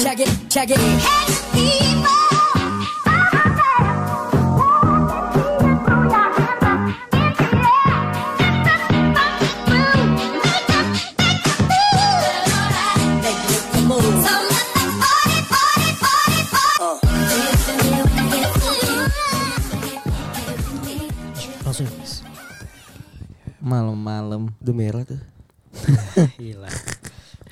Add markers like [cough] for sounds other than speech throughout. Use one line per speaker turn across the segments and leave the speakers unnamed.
Check it. Make it the move.
Langsung guys. Malam-malam.
Udah merah tuh.
Gila.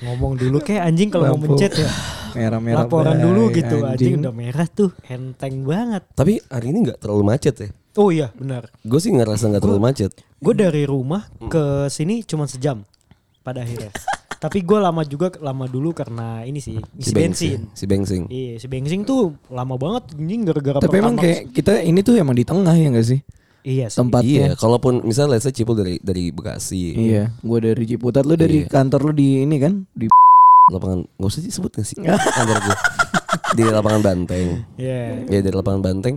Ngomong dulu kayak anjing kalau mau
Lampu.
mencet ya.
Merah-merah.
Laporan
baik,
dulu gitu anjing. udah merah tuh. Enteng banget.
Tapi hari ini nggak terlalu macet ya.
Oh iya benar.
Gue sih ngerasa nggak terlalu macet.
Gue dari rumah ke sini cuma sejam pada akhirnya. Tapi gue lama juga lama dulu karena ini sih isi bensin.
Si bensin.
Iya, si bensin tuh lama banget anjing gara-gara
Tapi emang
Pertamax.
kayak kita ini tuh emang di tengah ya gak sih
iya sih.
tempatnya?
Iya, kalaupun misalnya saya Cipul dari dari Bekasi,
Iya, gua dari Ciputat, lu dari
Iya.
kantor lu di ini kan? Di
lapangan nggak usah disebut nggak
[laughs]
sih? Kantor gue di lapangan Banteng.
Iya.
Iya dari lapangan Banteng.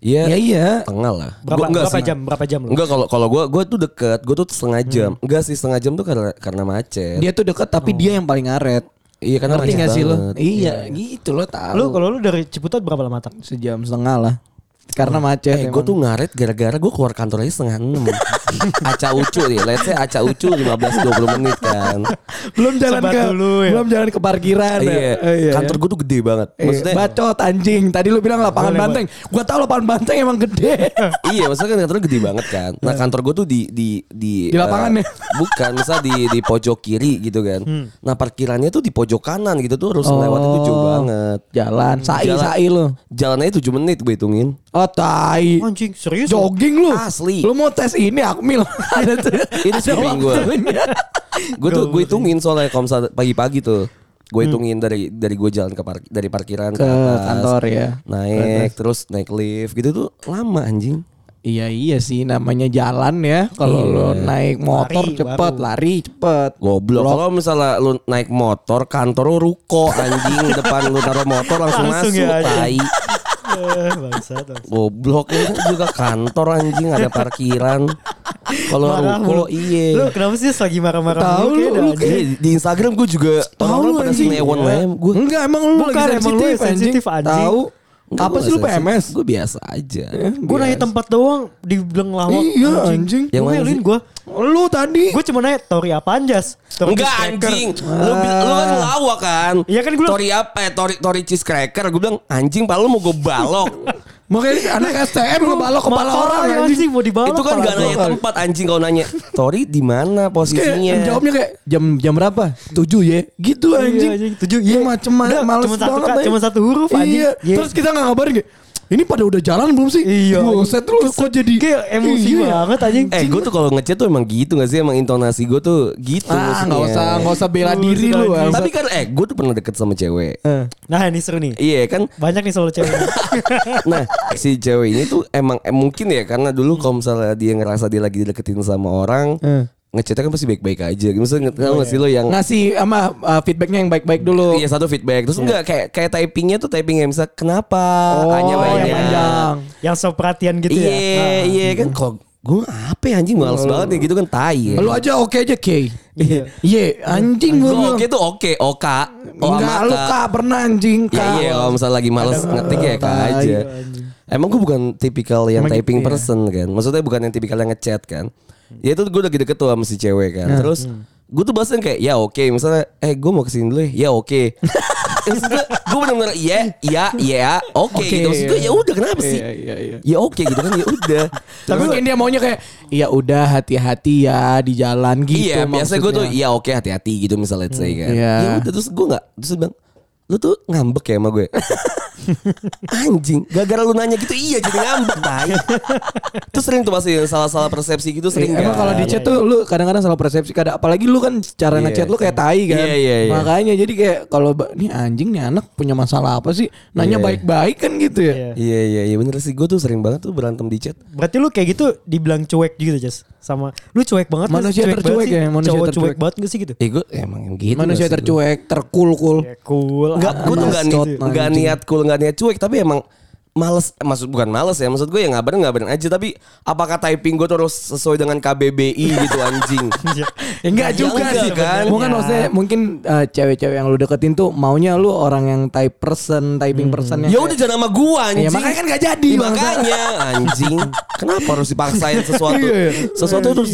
Iya,
Ya iya.
tengah lah.
Berapa,
Gua- nggak
berapa
sih.
jam? Hmm. Berapa jam lu?
Enggak kalau kalau gua gua tuh deket, gua tuh setengah jam. Enggak sih setengah jam tuh karena karena macet.
Dia tuh deket tapi
Oh.
dia yang paling ngaret.
iya karena
Ngerti
macet
gak sih lu?
banget.
Iya, gitu lo tahu.
Lu kalau lu dari Ciputat berapa lama tak?
sejam setengah lah. Karena macet.
Eh, gue
emang.
tuh ngaret gara-gara gue keluar kantor aja setengah enam. [laughs] aca ucu nih, let's say aca ucu 15-20 menit kan.
belum jalan
Sebat
ke
dulu ya.
belum jalan ke parkiran. ya.
Iya,
Eh, iya,
kantor gue tuh gede banget.
iya.
Maksudnya,
Eh, bacot anjing. Tadi lu bilang lapangan
Boleh,
banteng. Gua tahu lapangan banteng emang
[laughs]
gede.
iya, maksudnya kan kantor gede banget kan. Nah kantor gue tuh di di di,
Di lapangan
[laughs] eh,
ya?
bukan, misalnya di di pojok kiri gitu kan. Nah parkirannya tuh di pojok kanan gitu tuh harus lewat itu jauh banget.
Oh. Jalan sai
Jalan.
sai lu.
Jalannya 7 menit gue hitungin.
Oh tai.
Anjing, serius? lu?
Jogging lu.
Asli.
Lu mau tes ini Akmil. Ada tuh-
Ini
ada
skipping gua.
waktunya.
Gue tuh gue hitungin soalnya kalau misalnya pagi-pagi tuh gue hitungin dari dari gue jalan ke park dari parkiran
Ke kantor ya.
naik terus naik lift gitu tuh lama anjing
Iya iya sih namanya jalan ya. Kalau lu naik motor
Lari,
cepet, lari cepet.
goblok kalau misalnya lu naik motor kantor lu ruko anjing depan lu taruh motor langsung,
Langsung
masuk
ya,
tai
Eh, bangsat, bangsat.
goblok ini kan juga kantor anjing ada parkiran kalau
Marah
ruko
lu. Lu
iya
kenapa sih lagi marah-marah
Tahu
mulu kayak
lu,
ada
lu
anjing.
Eh, di Instagram gue juga
Tahu
orang-orang
lu
pada
anjing. Iya.
senewon lem gue
Enggak emang lu
Bukan,
lagi
emang lu
sensitif
yang
anjing.
sensitif, anjing.
Tahu. Apa sih lu PMS?
gue biasa aja
Gue nanya tempat doang dibilang lawak.
Iya, anjing.
Yang
Yang
mana
mana
sih?
gue.
Lu tadi.
Gue cuma nanya Tori apaan Jas? Tori Ah.
Enggak
cheesecracker.
anjing. Lu, bi- lu kan lawak kan.
Iya kan, gua-
Tori apa? eh, Tori Tori cheese cracker. Gue bilang anjing pala lu mau gue
[laughs]
balok.
Makanya anak STM ngebalok kepala
Motor
orang
ya,
anjing.
anjing mau dibalok.
Itu kan
pala
gak
gua.
nanya tempat anjing kalau nanya. Tori di mana
Kayak
posisinya?
jawabnya kayak jam jam berapa? 7 ya. Gitu
Iya,
anjing.
anjing, tujuh,
Iya,
iya.
macem
Udah,
mana males
cuma satu
banget.
ka-
anjing.
cuma satu huruf, anjing.
Iya.
Iya.
Terus kita gak ngabarin kayak ini pada udah jalan belum sih?
Iya.
Buset lu kok jadi
Kayak emosi
Iya.
banget anjing.
Eh gue tuh kalau ngechat tuh emang gitu gak sih? Emang intonasi gue tuh gitu.
Ah,
maksudnya.
enggak usah enggak usah bela
Lu
diri lu.
sudah-
Tapi kan eh gue tuh pernah deket sama cewek.
Eh.
Nah ini seru nih.
Iya kan.
Banyak nih soal
[laughs]
cewek.
Nah si cewek ini tuh emang eh, mungkin ya karena dulu kalau misalnya dia ngerasa dia lagi dideketin sama orang.
Eh.
Hmm.
Ngechatnya kan pasti baik-baik aja. Misalnya
Oh,
tau gak sih
iya.
lo
Nah,
yang
Ngasih ama uh, feedbacknya yang baik-baik dulu.
Iya satu feedback Terus enggak kayak kayak typingnya tuh typing yang bisa kenapa
Oh,
hanya
yang panjang.
Yang so perhatian gitu ya.
Iya
Nah,
iya kan kok gue apa ya anjing males banget ya gitu kan tai. Ya.
Lu aja oke aja, Kay.
Iya.
Iya, anjing
Gua
gua. bilang.
oke tuh oke oka. Oh,
Enggak,
amaka.
lu kak pernah anjing
Ya,
kak.
iya kalau misalnya lagi males ngetik ya kak
tai,
aja.
anjing.
Emang gue bukan tipikal yang
Emang
typing
gitu ya?
person kan. Maksudnya bukan yang tipikal yang ngechat kan. Ya itu gue lagi deket tuh sama si cewek
Nah,
kan. Terus
hmm.
gue tuh bahasnya kayak ya oke misalnya eh gue mau kesini dulu ya ya
[laughs]
oke. Eh, gue bener-bener iya iya iya oke
Oke,
gitu. Maksud gue
iya.
ya udah kenapa sih?
Iya, iya, iya.
Ya oke gitu kan ya udah.
Tapi mungkin dia maunya kayak ya udah hati-hati ya di jalan gitu.
iya, biasanya gue tuh
maksudnya.
ya oke hati-hati gitu misalnya let's say kan.
iya.
Ya udah terus gue nggak terus dia bilang lu tuh ngambek ya sama gue. [laughs] Anjing, gara-gara lu nanya gitu iya jadi ngambek tai. terus sering tuh pasti salah-salah persepsi gitu sering.
Iya, Ya, Emang
kan?
kalau di chat tuh lu kadang-kadang salah persepsi kadang apalagi lu kan cara
Iya.
ngechat lu kayak tai kan.
Iya, iya, iya.
Makanya jadi kayak kalau ba- nih anjing nih anak punya masalah apa sih? Nanya
Iya.
baik-baik kan gitu
Iya.
ya.
Iya iya iya bener sih gue tuh sering banget tuh berantem di chat.
Berarti lu kayak gitu dibilang cuek gitu Jas. Sama lu cuek banget nggak sih?
Manusia
banget
tercuek
sih?
ya, manusia
Cowok
tercuek.
cuek banget gak sih gitu?
Eh gue emang yang gitu.
Manusia
gak sih
tercuek, terkul-kul.
Ya cool.
Enggak, gue tuh enggak niat,
Bacot,
[laughs] enggak
anjing.
niat cool, enggak niat cuek, tapi emang males eh, maksud bukan males ya maksud gue ya ngabarin ngabarin aja tapi apakah typing gue terus sesuai dengan KBBI gitu anjing
[laughs]
Iya,
Enggak
Ya
juga
enggak
sih
kan.
kan. Mungkin
ya.
maksudnya mungkin eh, cewek-cewek yang lu deketin tuh maunya lu orang yang type person, typing person yang
ya udah jangan sama gue anjing
Ya, makanya kan nggak jadi,
Iya,
bangsa.
makanya anjing kenapa harus dipaksain sesuatu sesuatu terus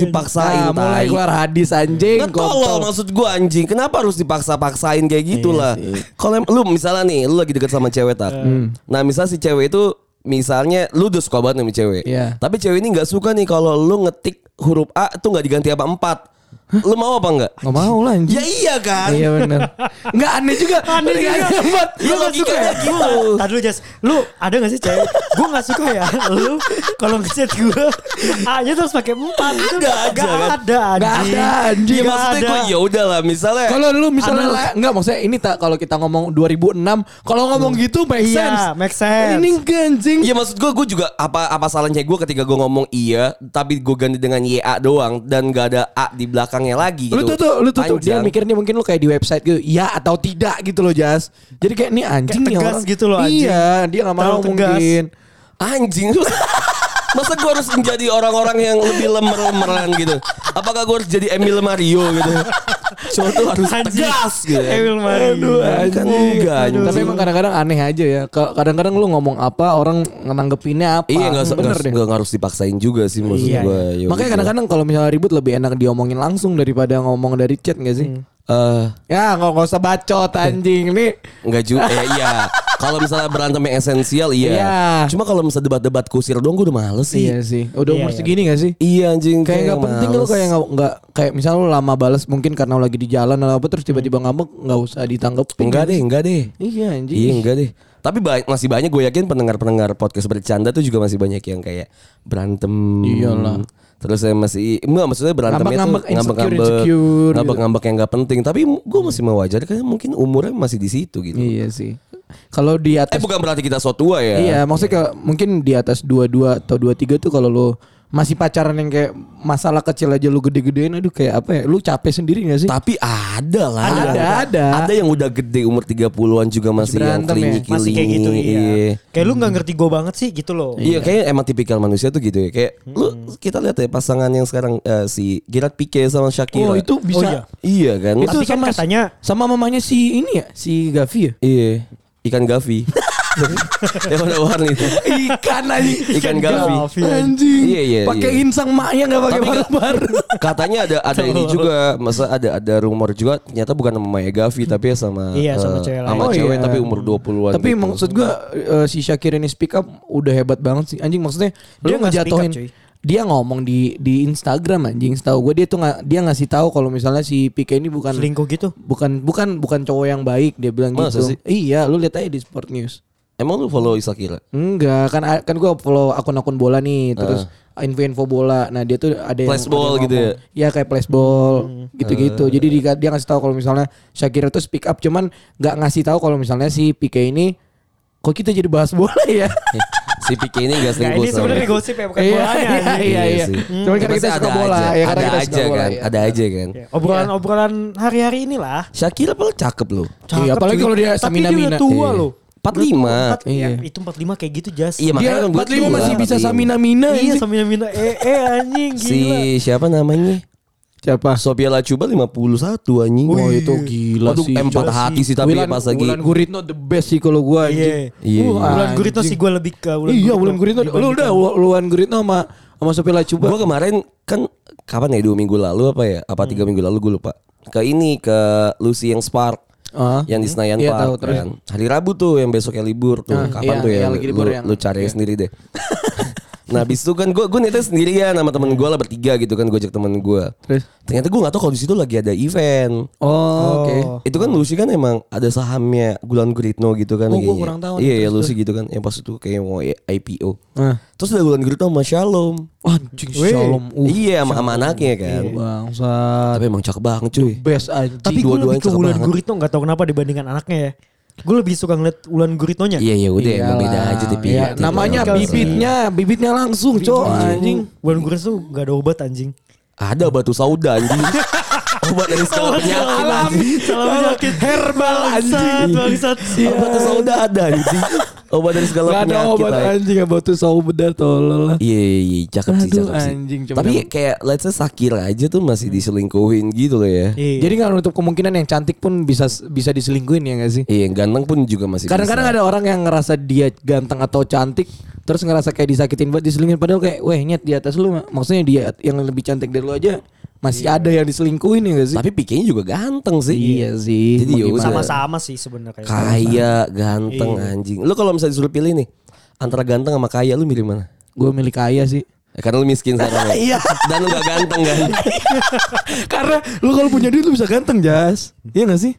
Nah,
dipaksain
mulai
tai.
keluar hadis anjing.
Nggak tolol
kontol.
maksud gua anjing. Kenapa harus dipaksa-paksain kayak gitu
Iya
lah.
sih.
Kalau em- lu misalnya nih, lu lagi deket sama cewek tak. Nah misalnya si cewek itu misalnya lu udah suka banget sama cewek.
Iya.
Tapi cewek ini nggak suka nih kalau lu ngetik huruf A tuh nggak diganti apa empat. Lu mau apa enggak?
Nggak mau lah anjing.
Ya iya kan.
Iya benar. Enggak aneh juga.
Aneh juga.
banget.
Lu
Lu gak suka
Iya, logikanya
ya?
gitu.
Tadi lu Jas, lu ada gak sih cewek? gue gak suka ya. [laughs] Lu kalau ngechat gue, A-nya terus pakai empat itu
Gak
gak,
ada, kan?
ada
Nggak
anjing.
ada, anjing.
Iya
Nggak
maksudnya
ada.
gua ya udahlah misalnya.
Kalau lu misalnya
Analog.
lah, enggak maksudnya ini tak kalau kita ngomong 2006, kalau ngomong gitu make
Iya,
sense.
make sense.
Ini enggak, anjing.
Iya maksud gue, gue juga apa apa salahnya gue ketika gue ngomong iya, tapi gue ganti dengan YA doang dan gak ada A di belakangnya lagi.
Lu
gitu.
tuh tuh lu tuh, tuh dia
Panjang.
mikirnya mungkin lu kayak di website gitu, ya atau tidak gitu loh Jas. Jadi kayak nih
Kayak
anjing nih
tegas
orang.
gitu loh, anjing.
Iya, dia nggak mau
Terlalu tegas.
mungkin.
Anjing [laughs] lu- Masa gue harus menjadi orang-orang yang lebih lemer-lemeran gitu Apakah gue harus jadi Emil Mario gitu Cuma tuh
[laughs]
harus
Anjing.
tegas gitu
Emil Mario.
Aduh anjing Enggak anjing
Tapi emang kadang-kadang aneh aja ya. Ka- Kadang-kadang lu ngomong apa, orang nanggepinnya apa.
Iya gak, usah-
Bener
gak-
deh.
gak harus dipaksain juga sih maksud
Iya,
gue ya
Makanya
udah.
kadang-kadang kalau misalnya ribut lebih enak diomongin langsung daripada ngomong dari chat gak sih?
Hmm.
Eh,
Ya nggak nggak usah bacot anjing nih.
Enggak juga eh, Iya Kalau misalnya berantem yang esensial iya
Iya.
Cuma kalau misalnya debat-debat kusir doang gue udah males sih
Iya sih. Udah
Iya,
umur
iya.
segini gak sih?
Iya anjing
Kayak nggak penting lu
males.
kayak nggak nggak kayak misalnya lu lama balas mungkin karena lu lagi di jalan atau apa terus tiba-tiba ngambek nggak usah ditanggepin.
Hmm. Enggak deh enggak deh
Iya anjing.
Iya enggak deh. Tapi ba- masih banyak gue yakin pendengar-pendengar podcast bercanda tuh juga masih banyak yang kayak berantem.
Iyalah.
Terus saya masih enggak maksudnya berantemnya
Ngambek-ngambek,
tuh ngambek-ngambek
insecure-insecure gitu.
ngambek-ngambek yang enggak penting. Tapi gue masih mewajari karena mungkin umurnya masih di situ gitu.
Iya sih. Kalau di
Eh
atas
bukan berarti kita so tua ya.
Iya, maksudnya kayak mungkin di atas 22 atau 23 tuh kalau lu masih pacaran yang kayak masalah kecil aja lu gede-gedein aduh kayak apa ya? Lu capek sendiri gak sih?
Tapi ada lah.
Ada, ada, ada.
Ada yang udah gede umur 30-an juga masih yang
berantem ya.
klinik
Masih kayak gitu iya. Kayak lu gak ngerti gue banget sih gitu loh.
Iya kayaknya emang tipikal manusia tuh gitu ya Kayak lu
Hmm.
kita lihat ya pasangan yang sekarang eh, Si Gerard Pique sama
Oh,
Shakira
itu bisa.
iya.
Iya kan
Tapi kan
sama-
katanya
Sama mamanya si ini ya, si Gavi ya?
Iya, ikan
[laughs]
Gavi. yang warna warni itu.
Ikan anjing.
Ikan Gavi.
Gavi.
Anjing.
Iya, iya,
Pakai
iya.
insang maknya enggak pakai
Tapi kan-
barbar.
Katanya ada ada ini
Tolol.
juga, masa ada ada rumor juga ternyata bukan sama Maya Gavi tapi ya sama
Iya, sama
eh,
cewek lain.
sama
Oh,
cewek
iya.
tapi umur 20-an.
Tapi
gitu.
maksud gua eh, si Shakir ini speak up udah hebat banget sih. Anjing maksudnya
Dia
dia lu
nggak speak up,
ngejatuhin
cuy.
dia ngomong di di Instagram anjing. Setahu gua dia tuh nggak dia ngasih tahu kalau misalnya si PK ini bukan
selingkuh gitu.
bukan bukan bukan cowok yang baik dia bilang
Masa
gitu.
sih?
Iya, lu lihat aja di Sport News.
emang lu follow Shakira?
Enggak, kan kan gua follow akun-akun bola nih, terus info-info bola. Nah, dia tuh ada yang-
Flashball
ada yang
gitu ya?
ngomong, Iya, kayak flashball gitu-gitu. Jadi dia, dia ngasih tahu kalau misalnya Shakira tuh speak up cuman nggak ngasih tahu kalau misalnya si PK ini kok kita jadi bahas bola ya?
Eh, si Pique ini
Nah
gak selingkuh
ini
sama.
sebenarnya gosip ya bukan
Iya,
bolanya.
[laughs] iya,
anjing.
iya, iya.
sih.
Cuman karena
Pasti
kita suka
ada
bola,
aja,
ya karena kita
ada
suka
aja
bola,
kan,
ya.
ada aja kan.
Ya, Obrolan-obrolan hari-hari inilah.
Shakira paling cakep lu.
Iya, apalagi
cuy.
kalau dia
Tapi dia
samina-mina.
udah tua
Iya.
loh.
45.
Empat- ya,
Iya.
itu 45 kayak gitu Jas.
Iya, makanya
Dia
kan gue
45
tua,
masih bisa
45.
samina-mina
Iya
anjing.
samina-mina eh eh anjing
Si
gila.
Iya.
siapa namanya?
Siapa?
Sofia Lacuba 51 anjing.
Oh, itu gila
Aduh,
sih.
empat
Gila
hati
sih.
sih tapi
Wulan-
pas lagi.
Wulan Guritno the best sih kalau gua
Iya.
anjing.
Iya,
Uh,
iya.
Wulan Guritno
Anjing.
sih gue lebih ke Wulan
iya, Wulan Guritno. Lu udah Wul- Wulan Guritno sama sama Sophia Lacuba.
Gue kemarin kan kapan ya dua minggu lalu apa ya? Apa
Hmm.
tiga minggu lalu gue lupa. Ke ini ke Lucy yang Spark
Ah.
yang di Senayan
Iya, tahu,
Park
terus.
kan. Hari Rabu tuh yang besoknya libur tuh.
Ah,
kapan
iya,
tuh ya?
yang lagi
lu,
libur yang- iya.
lu cari sendiri
[laughs]
deh. nah abis itu kan gue gue niatnya sendirian sama temen gue lah bertiga gitu kan gue ajak temen gue.
Terus?
Ternyata gue gak tahu kalau di situ lagi ada event.
Oh, oke.
Itu kan Lucy kan emang ada sahamnya Gulan Guritno gitu kan
Oh, gua
kayaknya.
kurang tahu nih,
Iya, iya
terus,
Lucy gitu kan. Yang pas itu kayak mau IPO.
Ah.
Terus ada Gulan Guritno sama Shalom.
Anjing
Weh.
Shalom. Iya. Uh,
iya, sama, sama anaknya kan.
Bangsa.
Tapi emang cakep banget cuy.
Best anjing.
Tapi gue
dua-duanya
lebih ke
cakep
Wulan
banget.
Guritno nggak tau kenapa dibandingkan anaknya ya. Gue lebih suka ngeliat Wulan Guritnonya.
Iya iya udah
Iyalah.
emang beda aja tapi.
Iya, namanya bibitnya, bibitnya langsung, cok anjing.
Wulan Guritno tuh gak ada obat anjing.
Ada batu
[laughs]
sauda anjing. Obat dari segala
Iya,
penyakit anjing.
Salam penyakit herbal
anjing. Iya,
Bangsat, bangsat.
[laughs]
Obat batu sauda ada anjing. obat dari segala
Gak ada
penyakit.
obat
lah.
anjing apa tuh saubeda tolol lah.
Iya, iya, iya, cakep sih,
Aduh,
cakep sih.
anjing, cuman
Tapi
emang- Hmm.
kayak let's say Shakira aja tuh masih diselingkuhin gitu loh ya.
Iya.
Jadi nggak menutup kemungkinan yang cantik pun bisa bisa diselingkuin ya gak sih?
Iya, yang ganteng pun juga masih
Kadang-kadang ada orang yang ngerasa dia ganteng atau cantik terus ngerasa kayak disakitin buat diselingkuhin padahal kayak weh nyet di atas lu maksudnya dia yang lebih cantik dari lu aja masih ada yang diselingkuhin ya gak sih?
Iya. Tapi pikirnya juga ganteng sih.
Iya sih.
Jadi
Mau
ya
gimana?
udah.
sama-sama sih sebenarnya.
Kaya, ganteng
Iya.
anjing. Lu kalau misalnya disuruh pilih nih antara ganteng sama kaya lu milih mana?
Gue milik kaya sih.
Eh, Karena lu miskin sekarang.
[laughs] Iya.
Dan lu gak ganteng kan?
Karena lu kalau punya duit lu bisa ganteng, Jas. Iya gak sih?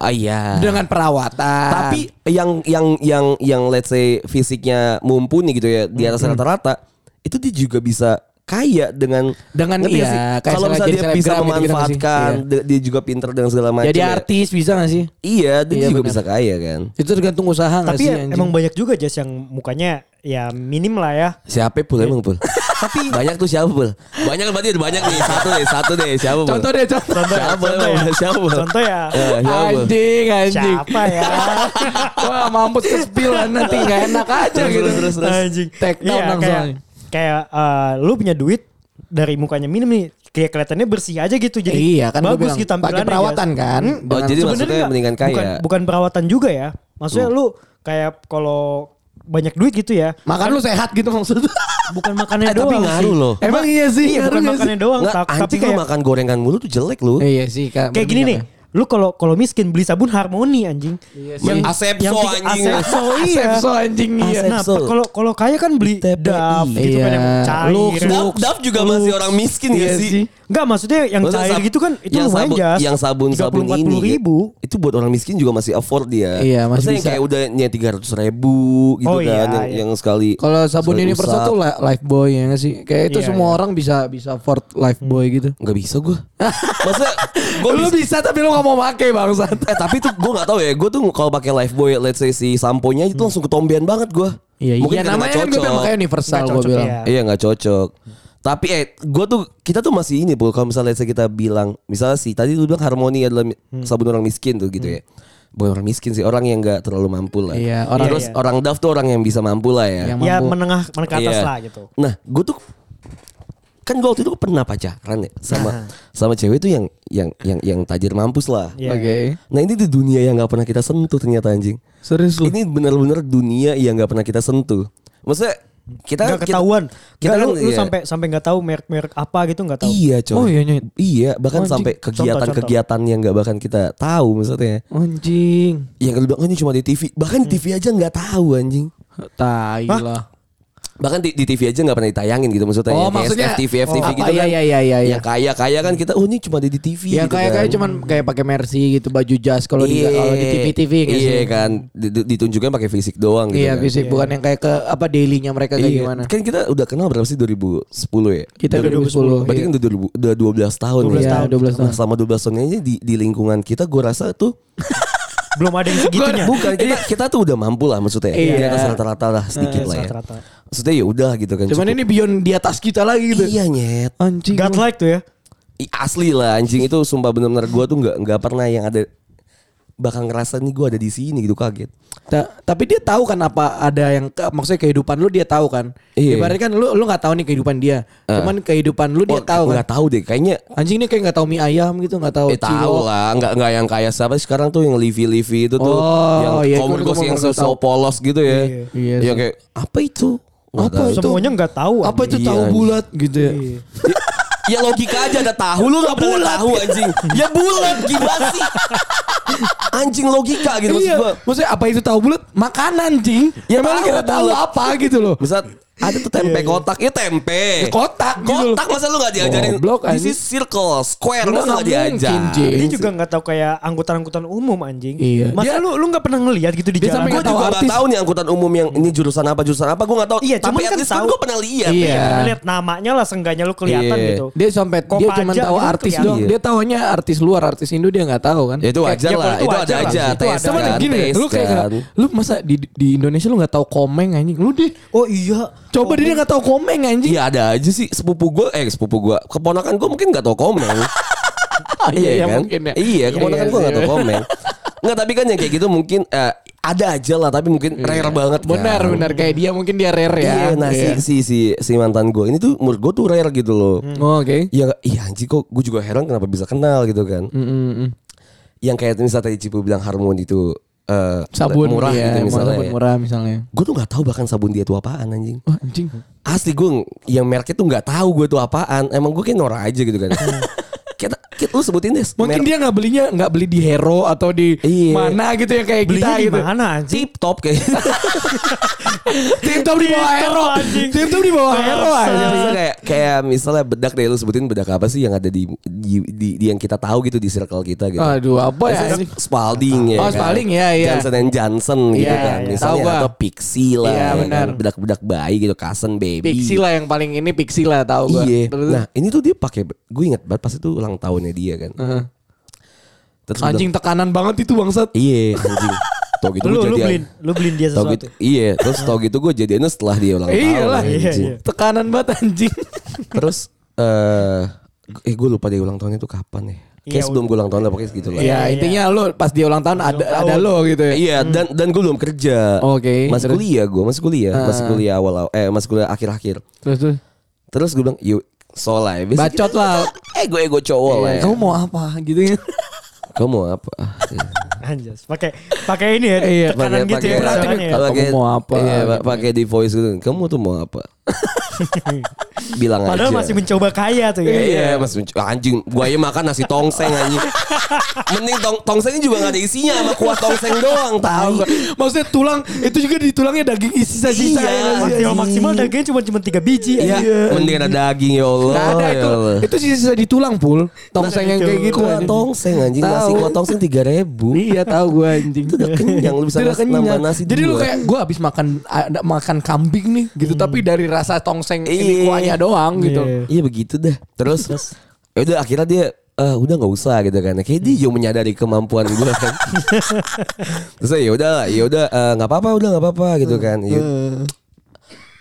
Ah iya.
Dengan perawatan.
Tapi yang yang yang yang let's say fisiknya mumpuni gitu ya di atas
Hmm.
rata-rata itu dia juga bisa kaya dengan
Dengan iya,
ngerti gak sih?
kayak misalnya
kalau misalnya
jadi
dia bisa
selebgram gitu-gitu gak sih?
memanfaatkan
Iya.
dia- dia juga pinter dengan segala macam
jadi
ya.
artis bisa gak sih?
iya dia
Iya,
juga
benar.
bisa kaya kan
Itu tergantung usaha nggak
Tapi
sih
ya
anjing?
emang banyak juga Jas yang mukanya ya minim lah ya.
siapa pul emang pul Iya. [laughs] tapi banyak tuh siapa pul banyak kan berarti ada banyak nih satu deh satu deh siapa pul
contoh deh contoh.
Contoh ya. Contoh
Siapa,
ya.
emang? Siapa?
Contoh ya.
Eh,
Iya,
siapa, Pul?
Anjing anjing.
Siapa ya?
[laughs] Wah mampus ke spill lah, nanti gak enak aja
Terus,
gitu.
terus, terus, terus.
Anjing.
Take down
Iya,
langsung.
Kayak, kayak eh, lu punya duit dari mukanya minim nih kayak kelihatannya bersih aja gitu jadi
Iya kan gua
bagus
bilang,
gitu tampilannya
Pakai perawatan
Jas.
kan.
Hmm.
oh
Dengan-
jadi
Sebenarnya
maksudnya
nggak-
mendingan kaya
bukan, bukan perawatan juga ya maksudnya lu kayak kalau banyak duit gitu ya
Makan lu sehat gitu [laughs] maksudnya.
bukan makannya
Eh, tapi
doang
ngaruh
sih.
loh.
Emang iya sih,
Iya,
ngaruh
bukan
nggak sih?
makannya doang
Nggak,
tak- tapi
anjing lu
kayak
makan gorengan mulu tuh jelek lu
Iya sih Kak.
kayak gini nih
ya.
lu kalau kalau miskin beli sabun harmoni anjing
Iya sih.
yang
Asepso,
yang tiga-
anjing. [laughs]
asepso
Oh,
iya
Asepso anjing iya.
nah
Asepso.
pe- kalau kalau kaya kan beli
TPI.
daf gitu kan yang
Iya.
cair
Lux,
Dap, dap juga masih orang miskin
Iya
ya sih.
sih.
Enggak maksudnya yang
Maksudnya
cair
sab-
gitu kan itu
yang
lumayan
sabun,
jas
yang sabun sabun ini
ribu
itu buat orang miskin juga masih afford dia.
Iya, masih
Maksudnya yang
bisa.
kayak udah nyet tiga ratus ribu gitu
Oh
kan,
iya,
yang,
iya.
yang sekali.
Kalau sabun
sekali
ini
usap.
persatu life boy ya nggak sih? Kayak itu
Iya,
semua
iya.
orang bisa bisa afford life boy gitu.
nggak bisa gue. Maksudnya gue
Lu
bisa.
bisa tapi lu gak mau pakai bangsat.
Eh tapi tuh gue nggak tahu ya. Gue tuh kalau pakai Lifebuoy, let's say si sampo-nya itu langsung ketombean banget gue.
Iya,
Mungkin
iya
karena
namanya
nggak
kan gue bilang
cocok.
makanya universal
Nggak
gue
cocok,
bilang.
iya.
Iya nggak cocok. Tapi eh gue tuh kita tuh masih ini bu. Kalau misalnya saya kita bilang misalnya sih tadi lu bilang harmoni adalah mi-
Hmm.
sabun orang miskin tuh gitu ya. Bukan orang miskin sih orang yang nggak terlalu mampu lah.
Iya, orang-
terus
Iya, iya.
orang daf tuh orang yang bisa mampu lah ya.
Yang
ya
mampu.
menengah menengah ke atas
Iya.
lah gitu
Nah gue tuh kan gue waktu itu pernah pacaran ya sama sama cewek tuh yang yang yang yang tajir mampus lah.
Iya.
Oke.
Nah ini di dunia yang nggak pernah kita sentuh ternyata anjing.
Serius lu.
Ini benar-benar dunia yang nggak pernah kita sentuh. Maksudnya kita
Nggak
kita-
ketahuan kita,
kita
lu,
kan-
lu
iya.
sampai sampai nggak tahu merek-merek apa gitu nggak tahu
Iya coy.
Oh, iya, Nyet.
Iya, bahkan
Anjing.
sampai kegiatan-kegiatan yang nggak bahkan kita tahu maksudnya.
Anjing.
Yang kalau bilang "Oh, ini cuma di TV,
Hmm.
bahkan di TV aja nggak tahu anjing.
Tai lah.
Bahkan di, di TV aja nggak pernah ditayangin gitu
Oh,
maksudnya. ya. Kayak
maksudnya-
FTV,
oh,
FTV
apa,
gitu
iya,
kan.
iya, iya, iya, iya.
Yang kaya kaya kan kita, oh ini cuma ada di TV.
Yang
gitu
Iya, kayak
kan.
kayak cuman kayak pakai mercy gitu baju jas kalau di
Iya.
kalau di TV-TV nggak sih?
Iya kan, Di- di- ditunjukkan pakai fisik doang gitu.
Iya,
kan.
bisa bukan yang kayak ke apa dailynya mereka kayak
Iya.
gimana.
Kan kita udah kenal berapa sih 2010 ya?
Kita 2010.
Berarti
iya.
kan udah, 2000 udah 12 tahun
12
ya.
tahun. 12 tahun.
Nah, selama 12 tahun ini di, di lingkungan kita gue rasa tuh
belum ada
[laughs]
yang segitunya
bukan kita, kita tuh udah mampu lah maksudnya.
Iya. Eh,
Di atas rata-rata lah sedikit lah ya.
rata-rata.
Maksudnya ya udah gitu kan.
Cuman
cukup.
ini beyond di atas kita lagi gitu.
iya nyet.
Anjing.
God like tuh ya
I- Asli lah anjing itu sumpah benar-benar gue tuh nggak nggak pernah yang ada bakal ngerasa nih gue ada di sini gitu kaget.
Ta- tapi dia tahu kan apa ada yang ke- maksudnya kehidupan lu dia tahu kan.
Iya. Eh.
Ibaratnya kan lu lu nggak tahu nih kehidupan dia. Cuman kehidupan lu dia
Oh,
tahu kan.
nggak tahu deh kayaknya
Anjing ini kayak nggak tahu mie ayam gitu, nggak tahu
Eh tahu
cilok.
lah, nggak nggak yang kayak siapa sih sekarang tuh yang Livi Livi itu tuh
Oh, iya,
yang
gua-
komunitas
gua-
yang
gua- gua
so
tahu.
polos gitu
Iya.
ya.
Iya
Yang
sih.
kayak apa itu? Nggak
Apa
tahu.
itu?
semuanya nggak tahu
Apa itu
Iya,
tahu
anjing.
bulat gitu ya.
ya logika aja ada tahu lu nggak bulat tahu anjing. Ya bulat gimana sih? Anjing logika gitu maksud
Iya.
gua.
Maksudnya apa itu tahu bulat? Makanan, Jing.
Ya,
Emang lu
tahu
kira tahu
bulat.
apa gitu loh.
Misal ada tuh tempe kotak, ya
Iya,
tempe.
Ya, kotak gitu loh.
Kotak masa lu gak diajarin?
Goblok,
This
anjing.
is circle, square
Nggak,
masa gak
nggak mungkin, Ji.
diajarin?
dia juga nggak tahu kayak angkutan-angkutan umum anjing
Iya.
masa lu lu nggak pernah ngelihat gitu di
Dia
jalan
sampai
Gue
nggak tahu
juga gak
artis.
tahu nih angkutan umum yang ini jurusan apa jurusan apa gue gak tahu.
Iya,
tapi
cuman
at
kan
least kan
tahu.
gue pernah lihat.
Iya.
lihat namanya lah sengganya lu kelihatan
Iya.
gitu
Dia sampai dia
Kopaja
cuma tahu
gitu
artis
kelihatan.
doang.
Iya.
Dia tahunya artis luar, artis Indo dia nggak tahu kan.
Ya itu wajar
Ya, kalau
lah,
itu
itu, ada
wajar lah.
aja
Itu
tes
ada.
Cuman
kan,
gini,
tes
lu kayak
kan.
nggak- lu masa di di Indonesia lu nggak tahu komeng anjing. Lu deh
oh iya
coba dia nggak tahu komeng anjing.
Iya ada aja sih sepupu gue, eh sepupu gue, keponakan gue mungkin gak tau
[laughs]
komen.
Ah,
iya kan?
mungkin ya.
Iya, keponakan
Iya
gue gak
sih.
tau komen. Enggak tapi kan yang kayak gitu mungkin eh, ada aja lah tapi mungkin rare banget kan.
Iya. Benar, benar kayak dia mungkin dia rare ya.
Iya, nah
Iya.
si, si, si, si mantan gue ini tuh menurut gue tuh rare gitu loh.
Oh, Oke.
Ya, iya anjir kok gue juga heran kenapa bisa kenal gitu kan.
Mm-mm.
Yang kayak misalnya tadi Cipu bilang harmoni itu eh,
Sabun
murah
iya,
gitu misalnya.
Sabun murah misalnya.
Gue tuh nggak tahu bahkan sabun dia tuh apaan anjing.
Wah, anjing.
Asli gue yang mereknya tuh nggak tahu gue tuh apaan. Emang gue kayak Nora aja
[laughs]
gitu kan. kita, kita lu sebutin deh.
Mungkin dia nggak belinya nggak beli di Hero atau di
Iya.
mana gitu ya kayak
Belinya
kita
di
gitu.
mana anjing?
tip top
[laughs]
kayak. gitu.
Tim Tom di bawah
Tip Top,
Hero
anjing.
Tim Tom di bawah Hero
Iya,
anjing.
misalnya kayak kayak misalnya bedak deh lu sebutin bedak apa sih yang ada di di, di- di yang kita tahu gitu di circle kita gitu.
Aduh, apa ya
Misalnya
anjing?
Spalding ya.
Oh,
kan?
Spalding, iya, iya.
Johnson and Johnson gitu
Iya,
kan.
iya.
Misalnya
Tahu gua.
atau Pixie lah.
Iya,
ya kan?
benar.
Bedak-bedak bayi gitu, Cousin Baby.
Pixie lah yang paling ini Pixie lah tahu gua.
Iya.
Terus-
Nah, ini tuh dia pakai gue ingat banget pas itu ulang tahunnya dia kan.
Heeh.
Terus gua
anjing tekanan banget itu bangsat.
bilang, Iya,
[laughs]
anjing. Tau gitu
Lu
gue
lu
jadian.
beliin lu beliin dia
Tau gitu,
sesuatu.
iya, terus tau gitu gue jadiannya setelah dia ulang tahun.
[laughs] Iya lah.
Iya,
anjing.
iya.
Tekanan banget [laughs] anjing.
Terus eh eh gue lupa deh ulang tahunnya tuh kapan ya. Kayak
Iya,
sebelum gue ulang tahun lah pokoknya segitu lah.
Iya, intinya lo pas dia ulang tahun ada ada lo gitu ya.
Iya, dan dan gue belum kerja.
Oke, terus?
Masih
Ah.
kuliah gue, masih kuliah, masih kuliah awal eh masih kuliah akhir-akhir.
Terus terus.
Terus gue bilang, "Yuk, solai."
Bacot lah.
Eh, gue ego cowok lah. ya.
Kamu mau apa gitu ya?
Kamu mau apa? Ah, iya.
[laughs]
Anjas. Pakai pakai ini ya.
Iya,
tekanan gitu ya.
pakai-
perasaan ya.
Kamu
pakai-
mau apa?
Iya, pa- pakai di voice gitu. Kamu tuh mau apa? Bilang
[laughs] Padahal
aja.
masih mencoba kaya tuh ya.
Iya, mas menc- anjing. Gua aja makan nasi tongseng anjing. Mending tong tongsengnya juga gak ada isinya sama kuah tongseng doang, tahu.
[laughs] Maksudnya tulang itu juga di tulangnya daging isi sisa-sisa ya.
Iya, anjing.
Maksimal maksimal dagingnya cuma cuma 3 biji
Iya,
anjing.
mending ada daging ya Allah.
Nggak ada
ya
itu.
Allah.
Itu sisa-sisa di tulang pul. Tongseng yang kayak gitu.
Kuah
anjing.
tongseng anjing, nasi
Tahu.
kuah tongseng 3000.
Iya tahu gue anjing.
Itu udah kenyang, lu bisa
Itu udah
nas- nambah nasi
Jadi lu
dua.
kayak gue habis makan ada makan kambing nih gitu tapi dari rasa tongseng ini
Hmm. Iya.
kuahnya doang gitu.
Iya.
Iya begitu dah. Terus, ya udah akhirnya dia eh udah nggak usah gitu kan. Kayak
Hmm.
dia juga menyadari kemampuan gue kan.
[laughs]
Terus ya udah lah, ya udah eh, nggak apa-apa, udah nggak apa-apa gitu kan. Ya-
Hmm.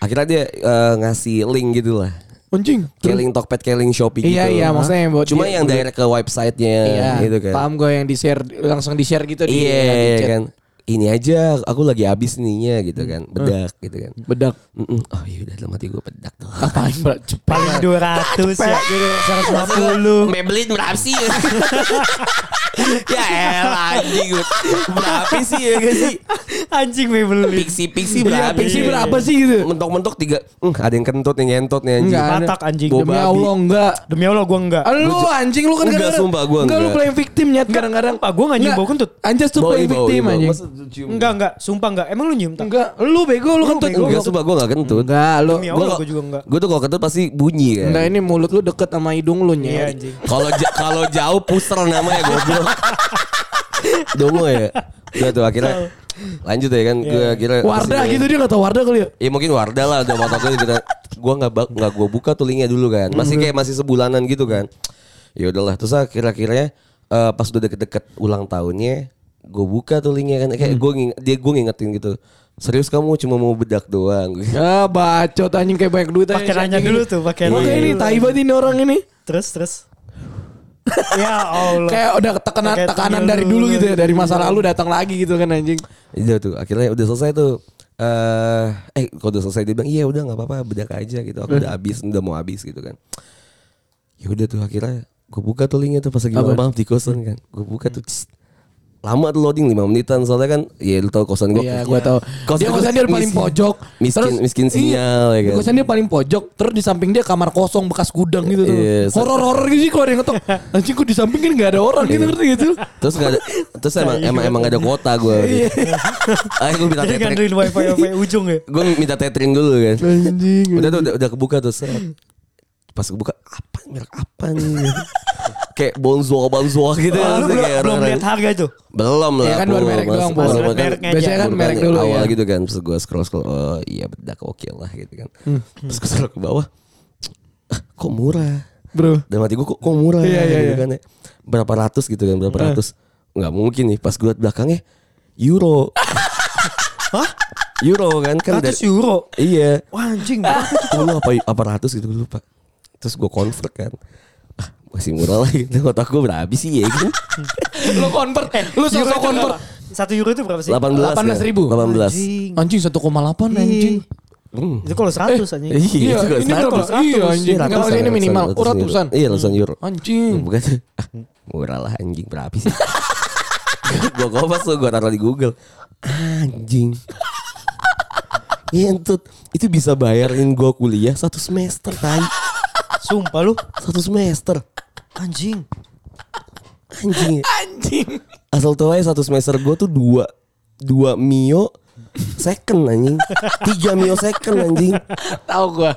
Akhirnya dia eh, ngasih link gitu lah.
Anjing.
Kayak link Tokped, kayak link Shopee
Iya,
gitu.
iya, maksudnya yang buat
Cuma
dia-
yang direct ke websitenya
Iya.
gitu kan.
Paham gue yang di share langsung di share gitu di-
Iya
di
iya
chat.
kan. Ini aja aku lagi habis ininya
Hmm.
gitu kan. Bedak gitu kan.
Bedak.
Mm-mm. Oh iya udah dalam hati gue bedak.
[laughs] Apain bedak? Cepat.
Paling 200 ya. Gitu, 150.
Maybelline berapa sih? [laughs] ya elah anjing. Berapa sih ya gak sih?
[laughs] Anjing gue beli.
Pixie-pixie
Iya,
berapa
pixie
sih?
berapa sih gitu?
Mentok-mentok tiga. Hmm, ada yang kentut nih ngentot nih anjing.
Enggak.
Patak anjing.
Boba.
Demi
babi.
Allah enggak.
Demi Allah gue enggak.
Ah, Lu anjing lu kan
Enggak,
kadang-kadang-
sumpah, gua
Enggak lu
enggak.
playing victim nyet kadang-kadang.
Pak, gua enggak nyium bau kentut.
Anjas tuh
Bau,
playing
bau,
victim
bau.
anjing.
Masa cium?
Enggak enggak, sumpah enggak. Emang lu nyium tak?
Enggak, lu bego lu kentut.
Enggak, sumpah gue gak kentut.
Enggak, lu
Demi
Gue
Allah gue juga enggak.
Gue tuh kalau kentut pasti bunyi kan.
Enggak ini mulut lu deket sama hidung lu
Iya
nyet.
anjing.
Kalau ja- kalau jauh puser namanya
[laughs]
goblok. Dongo ya. Udah tuh akhirnya lanjut ya kan gue akhirnya
Wardah
kesini.
gitu dia gak tau Wardah kali ya.
Ya mungkin Wardah lah udah motor gue kita gua nggak bak- nggak gua buka tuh linknya dulu kan. Masih kayak masih sebulanan gitu kan. Ya udahlah terus akhir-akhirnya eh, pas udah deket-deket ulang tahunnya gue buka tuh linknya kan kayak gue dia gue ngingetin gitu. Serius kamu cuma mau bedak doang.
Ya bacot anjing kayak banyak duit
Pakai nanya dulu tuh, pakai
Makanya
nanya
ini
dulu.
tai banget ini orang ini.
Terus terus. [laughs] ya Allah.
Kayak udah tekanan
Pakai
tekanan
tuyul
dari dulu
dulu.
gitu ya dari masa lalu datang lagi gitu kan anjing.
Iya tuh akhirnya udah selesai tuh. eh eh kalau udah selesai dia bilang iya udah nggak apa-apa bedak aja gitu. Aku
Hmm.
udah habis, udah mau habis gitu kan. Ya udah tuh akhirnya gue buka tuh linknya tuh pas lagi malam di kosan kan. Gue buka tuh. tss. lama tuh loading 5 menitan soalnya kan ya lu tau kosan gue.
Iya, gua tahu. Dia kosan dia paling pojok.
Miskin miskin
iya,
sinyal ya
di
kan.
Kosan dia paling pojok, terus di samping dia kamar kosong bekas gudang gitu tuh.
Iya, so-
Horor-horor gitu sih kalau ada yang ngetok. Anjing kok di samping kan gak ada orang gitu ngerti gitu.
Terus gak ada, terus emang
Iya.
emang emang gak ada kuota gue. Akhirnya gue minta
Jadi
tethering,
ngandelin wifi
[laughs]
wifi ujung ya.
gue minta tethering dulu kan.
Anjing.
udah tuh udah, udah kebuka tuh set. pas kebuka apa merek apa nih [laughs] kayak bonzoa bonzoa gitu
Wah, lu belum,
maksudnya kayak
belum
orang-orang-
lihat harga tuh.
belum lah
Iya kan, baru
belum,
merek
Mas.
doang,
Baru
Baru
kan-
merek aja.
Biasanya kan
baru
merek dulu
awal
ya.
gitu kan terus gue scroll scroll oh iya bedak oke lah gitu kan terus gue scroll ke bawah "Ah, kok murah
Bro.
dalam hati gue kok, kok murah
Iya, iya,
gitu
iya.
kan ya. berapa ratus gitu kan berapa ratus nggak mungkin nih pas gue liat belakangnya euro [laughs]
Hah?
euro kan
100
kan dari-
euro.
iya
Wah anjing. berapa tuh?
Gue apa, apa ratus gitu gue lupa Terus gue convert kan ah, Masih murah lah gitu Otak gue berhabis sih ya gitu
Lu convert, lu sosok convert.
Satu euro itu berapa sih?
18 kan?
18.000.
Anjing.
18.
Anjing 1,8 anjing.
Hmm. Eh.
Itu kalau 100 anjing.
Iya,
juga
ini
seratus.
berapa? Iya, anjing.
Ratusan,
Kalau ini
ratusan,
minimal, oh,
euro.
ratusan.
Iya, ratusan euro.
Anjing.
Bukan. Ah, Murah lah anjing berapa sih? [laughs] gua kopas tuh gua taruh di Google. Anjing. Iya entut itu bisa bayarin gua kuliah satu semester tai.
Sumpah lu.
Satu semester.
Anjing.
[laughs] Anjing.
Anjing.
Asal tau aja satu semester gua tuh dua dua mio second anjing. Tiga mio second anjing.
Tahu gua.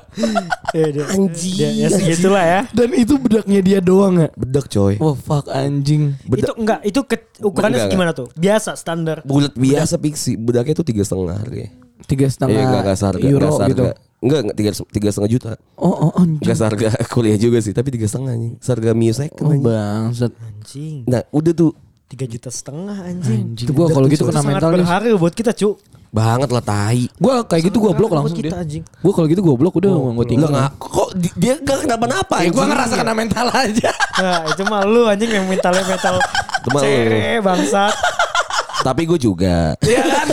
Ya, dia-
Anjing.
Ya, ya segitulah ya.
Dan itu bedaknya dia doang ya.
Bedak coy.
Wah, fuck anjing.
Itu
Bedak
enggak, itu ke- ukurannya
Enggak,
gimana tuh? Biasa standar.
bulat biasa piksi. Bedaknya tuh tiga setengah harganya.
Tiga
Iya
setengah
enggak kasar
euro gitu.
Enggak enggak, tiga, tiga setengah juta.
Oh, oh, anjing.
Enggak seharga [laughs] kuliah juga sih, tapi tiga setengah anjing. Seharga Mio second
Oh,
anjing.
bangsat.
Anjing.
Nah, udah tuh
3 juta setengah anjing.
Itu gua kalau gitu
Itu
kena
sangat
mental nih.
berharga buat kita, Cuk.
banget lah tai.
Gua kayak gitu gua blok
Berharga buat
langsung
kita,
dia.
anjing.
Gua kalau gitu gua blok udah gua
Enggak
tinggal.
enggak kok di- dia enggak kenapa-napa.
Ya, gua
anjing.
ngerasa kena mental
[laughs]
aja.
Nah, itu mah lu anjing yang mentalnya mental
Itu mah lu.
cere
[laughs]
bangsat.
Tapi gue juga. [laughs]
Iya kan?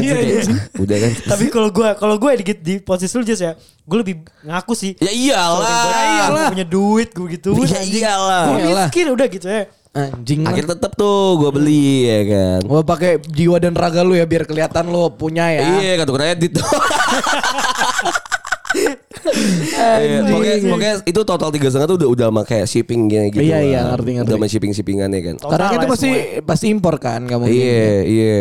Iya, anjing.
udah kan.
Tapi kalau gua kalau gua di, di posisi lu Jess ya, gua lebih ngaku sih.
Ya iyalah.
Gua "Ah, iya, punya duit gua gitu.
Ya iyalah.
Gua
Iyalah.
miskin udah gitu ya.
Anjing. lah.
Akhirnya tetep tuh gue beli ya kan.
Gua pakai jiwa dan raga lu ya biar kelihatan lu punya ya.
Iya kartu kredit. [laughs] Iya, pokoknya, pokoknya itu total tiga setengah tuh udah udah sama kayak shipping gitu.
Iya,
lah.
iya, ngerti, ngerti.
Udah sama shipping shippingannya kan.
Total
Karena kan
lah
itu pasti pasti impor kan kamu.
Iya iya.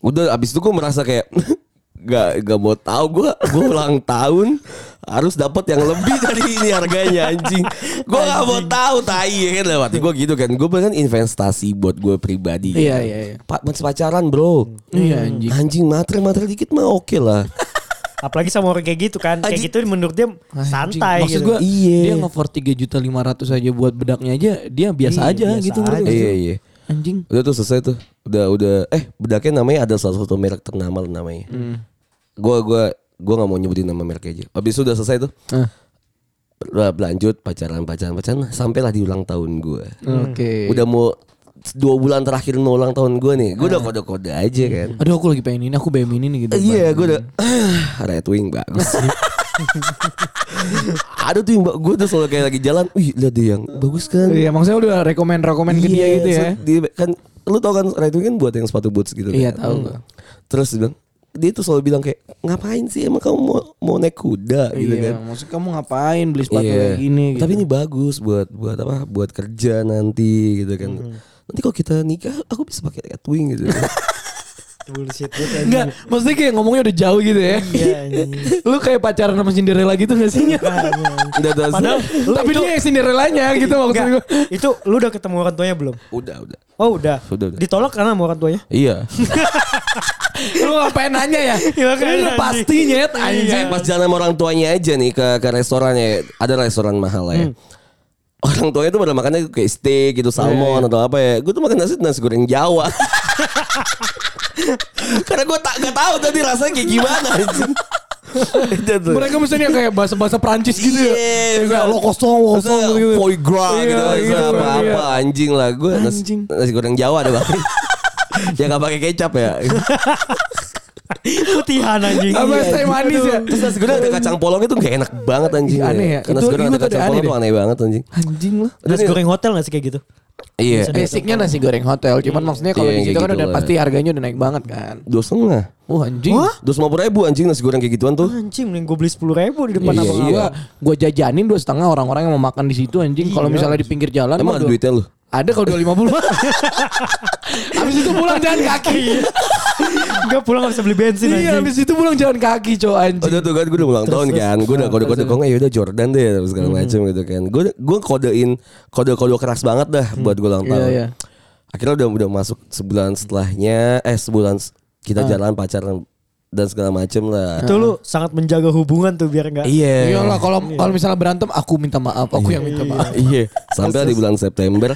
Udah abis itu gue merasa kayak [laughs] gak gak mau tahu gue gue ulang [laughs] tahun harus dapat yang lebih dari ini harganya anjing gue gak mau tahu tai ya kan lewat gue gitu kan gue bahkan investasi buat gue pribadi
Iya,
kan.
iya, iya.
pak masih pacaran bro
Hmm.
Iya anjing.
anjing materi materi dikit mah oke lah
Apalagi sama orang kayak gitu kan. Kayak
Anjing.
gitu menurut dia santai
Maksud
gitu.
gua
Iya.
dia nge-for 3 juta 500 aja buat bedaknya aja dia biasa
Iya,
aja
biasa
gitu ngerti
aja.
gak sih?
iya iya
Anjing.
udah tuh selesai tuh udah udah eh bedaknya namanya ada salah satu merek ternama lah namanya gue gue gue nggak mau nyebutin nama mereknya aja abis itu udah selesai tuh
Ah,
Hmm.
Udah lanjut pacaran pacaran pacaran sampailah di ulang tahun gue
Oke.
udah mau dua bulan terakhir mau ulang tahun gue nih gue udah kode kode aja kan
Aduh aku lagi pengen ini, aku pengen ini gitu.
Eh, iya gue udah [sighs] ah, red wing bagus ada tuh yang gue udah selalu kayak lagi jalan wih lihat dia yang bagus kan
Iya, maksudnya udah rekomend-rekomen ke dia
Iya,
gitu ya.
so- dia- kan lu tau kan Red Wing kan buat yang sepatu boots gitu
Iya,
kan.
tahu
Hmm.
gua.
Terus dia bilang dia tuh selalu bilang kayak ngapain sih emang kamu mau mau naik kuda gitu
Iya,
kan.
maksudnya kamu ngapain beli sepatu
Iya.
kayak gini gitu.
Tapi ini bagus buat buat apa? Buat kerja nanti gitu kan.
Hmm.
Nanti kalau kita nikah aku bisa pakai Red Wing
[laughs]
gitu.
Bullshit banget anjing.
enggak, maksudnya kayak ngomongnya udah jauh gitu ya.
Iya, anjing.
[laughs] lu kayak pacaran sama Cinderella gitu gak sih? Nya?
udah, udah,
Padahal lu
Tapi
itu,
dia yang Cinderellanya gitu maksud
enggak,
gue.
itu lu udah ketemu orang tuanya belum?
udah udah.
Oh udah.
Sudah, udah.
Ditolak karena sama orang tuanya. [laughs]
Iya.
Lu ngapain nanya
[laughs]
ya?
Iya, makanya,
Ini udah
anjing.
pasti nyet anjing.
Saya pas jalan sama orang tuanya aja nih ke ke restorannya ada restoran mahal lah
Hmm.
ya. Orang tuanya tuh pada makannya kayak steak gitu
Iya,
salmon atau apa ya. Gue tuh makan nasi nasi goreng
[laughs]
Jawa. Karena gue tak gak tahu tadi rasanya kayak gimana. anjing. Itu tuh.
Mereka misalnya kayak bahasa-bahasa Prancis gitu ya.
Iya,
Kayak
bener.
lo kosong, lo kosong
Maksudnya
gitu.
foie gras
Iya,
gitu,
iya,
maksudnya
iya.
apa-apa anjing lah gue nasi,
Anjing.
nasi goreng Jawa ada bang. [laughs] ya gak pakai kecap ya.
[laughs]
Putihan anjing.
Apa
Iya,
es teh
anjing.
manis ya?
Terus nasi goreng ada kacang polong itu gak enak banget anjing.
Iya, aneh ya.
Nasi
Itu-
goreng
itu
ada
tuh
kacang
aneh
polong
deh.
tuh aneh banget anjing.
Anjing lah.
Nasi goreng hotel gak sih kayak gitu?
Iya.
Basicnya nasi goreng hotel, cuman maksudnya kalau
Iya,
di situ
kayak
kan
gitu
udah
lah.
pasti harganya udah naik banget kan.
Dua setengah.
Wah anjing.
Dua puluh ribu anjing nasi goreng kayak gituan tuh.
Anjing mending gue beli 10 ribu di depan
Mana
Iya,
abang.
iya.
gua gua jajanin dua setengah orang-orang yang mau makan di situ anjing. Kalau misalnya di pinggir jalan
Iya. Emang
mah
ada
dua-
duitnya lu?
Ada kalau
[laughs]
250. Habis itu pulang jalan kaki.
Iya,
Enggak pulang gak bisa beli bensin
Iya,
anjing.
habis itu pulang jalan kaki, cowok anjing.
Udah tuh kan gue udah ulang tahun kan Gue udah kode-kode Kok nggak yaudah Jordan deh terus Segala
Hmm.
macem gitu kan Gue gue kodein Kode-kode keras banget dah Buat gue ulang tahun
Iya, iya.
Akhirnya udah udah masuk Sebulan setelahnya Eh sebulan s- Kita
Ah.
jalan pacaran Dan segala macem lah
Itu lu sangat menjaga hubungan tuh biar enggak.
Iya
Iyalah kalau kalau misalnya berantem aku minta maaf, aku yang minta maaf.
[laughs] Iya Sampai di bulan September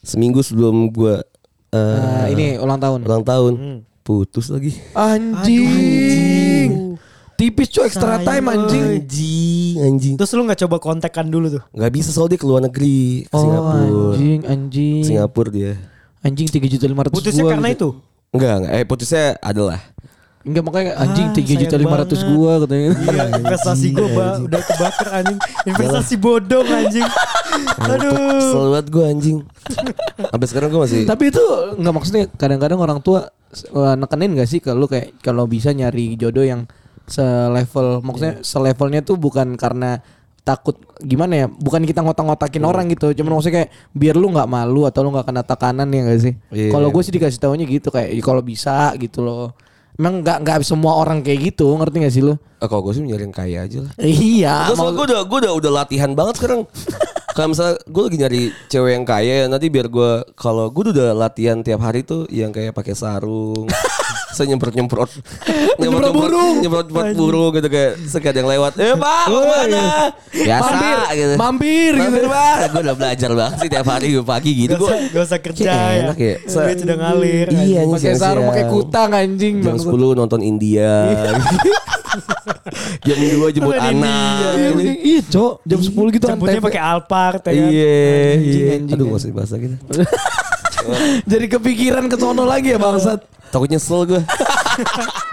Seminggu sebelum gue
Nah, ini Hmm. ulang tahun.
Ulang tahun Putus lagi
Anjing. Tipis cuy extra
Sayang,
time anjing.
Anjing Anjing
Terus lu gak coba kontekan dulu tuh?
Gak bisa soal dia keluar negeri ke Singapura
Oh, anjing anjing.
Singapura dia
anjing 3 juta 500
Putusnya
gua
karena
gitu.
itu.
Enggak, enggak. Eh putusnya adalah.
Enggak makanya anjing
Ah,
3 juta
sayang
500
banget.
gua katanya.
Iya, [laughs] investasi gue udah kebakar anjing. Investasi bodong anjing. Aduh.
Kesel banget gue
[laughs]
anjing. Sampai sekarang gue masih.
Tapi itu nggak maksudnya kadang-kadang orang tua eh, nekenin gak sih kalau kayak kalau bisa nyari jodoh yang selevel maksudnya selevelnya tuh bukan karena takut gimana ya bukan kita ngotak-ngotakin orang gitu cuman maksudnya kayak biar lu nggak malu atau lu nggak kena tekanan ya gak sih
Iya.
kalau gue sih dikasih taunya gitu kayak "Ih, kalau bisa gitu loh emang nggak nggak semua orang kayak gitu ngerti gak sih lu
Eh, kalau gue sih nyari yang kaya aja lah.
iya
Gue gue udah gue udah udah latihan banget
[laughs]
sekarang. Kalau misalnya gue lagi nyari cewek yang kaya nanti biar gue kalau gue udah latihan tiap hari tuh yang kayak pakai sarung,
[laughs]
saya nyemprot nyemprot,
Nyemprot burung.
nyemprot nyemprot burung gitu kayak sekadang yang lewat, eh pak mau mana? Biasa
Mampir,
gitu,
mampir, gitu.
mampir Pak. Gue udah belajar banget sih tiap hari pagi gitu
Gak
gue.
usah, gak usah kerja
Cek,
ya.
enak ya.
Duit udah ngalir. anjing.
Iya, anjing,
pakai sarung
siang-siang.
pakai kutang anjing
Jam
Bang.
10 nonton
[laughs]
India. jam 2 jemput
Nonton
anak.
Iya,
gitu.
iya, cok. Jam 10 gitu
Jemputnya
antv.
pakai Alphard ya kan?
Iya,
Anjing,
iya.
anjing,
Aduh, gak
anjing.
usah bahasa gitu.
Jadi kepikiran ke sono lagi ya bangsat.
Takut nyesel gue.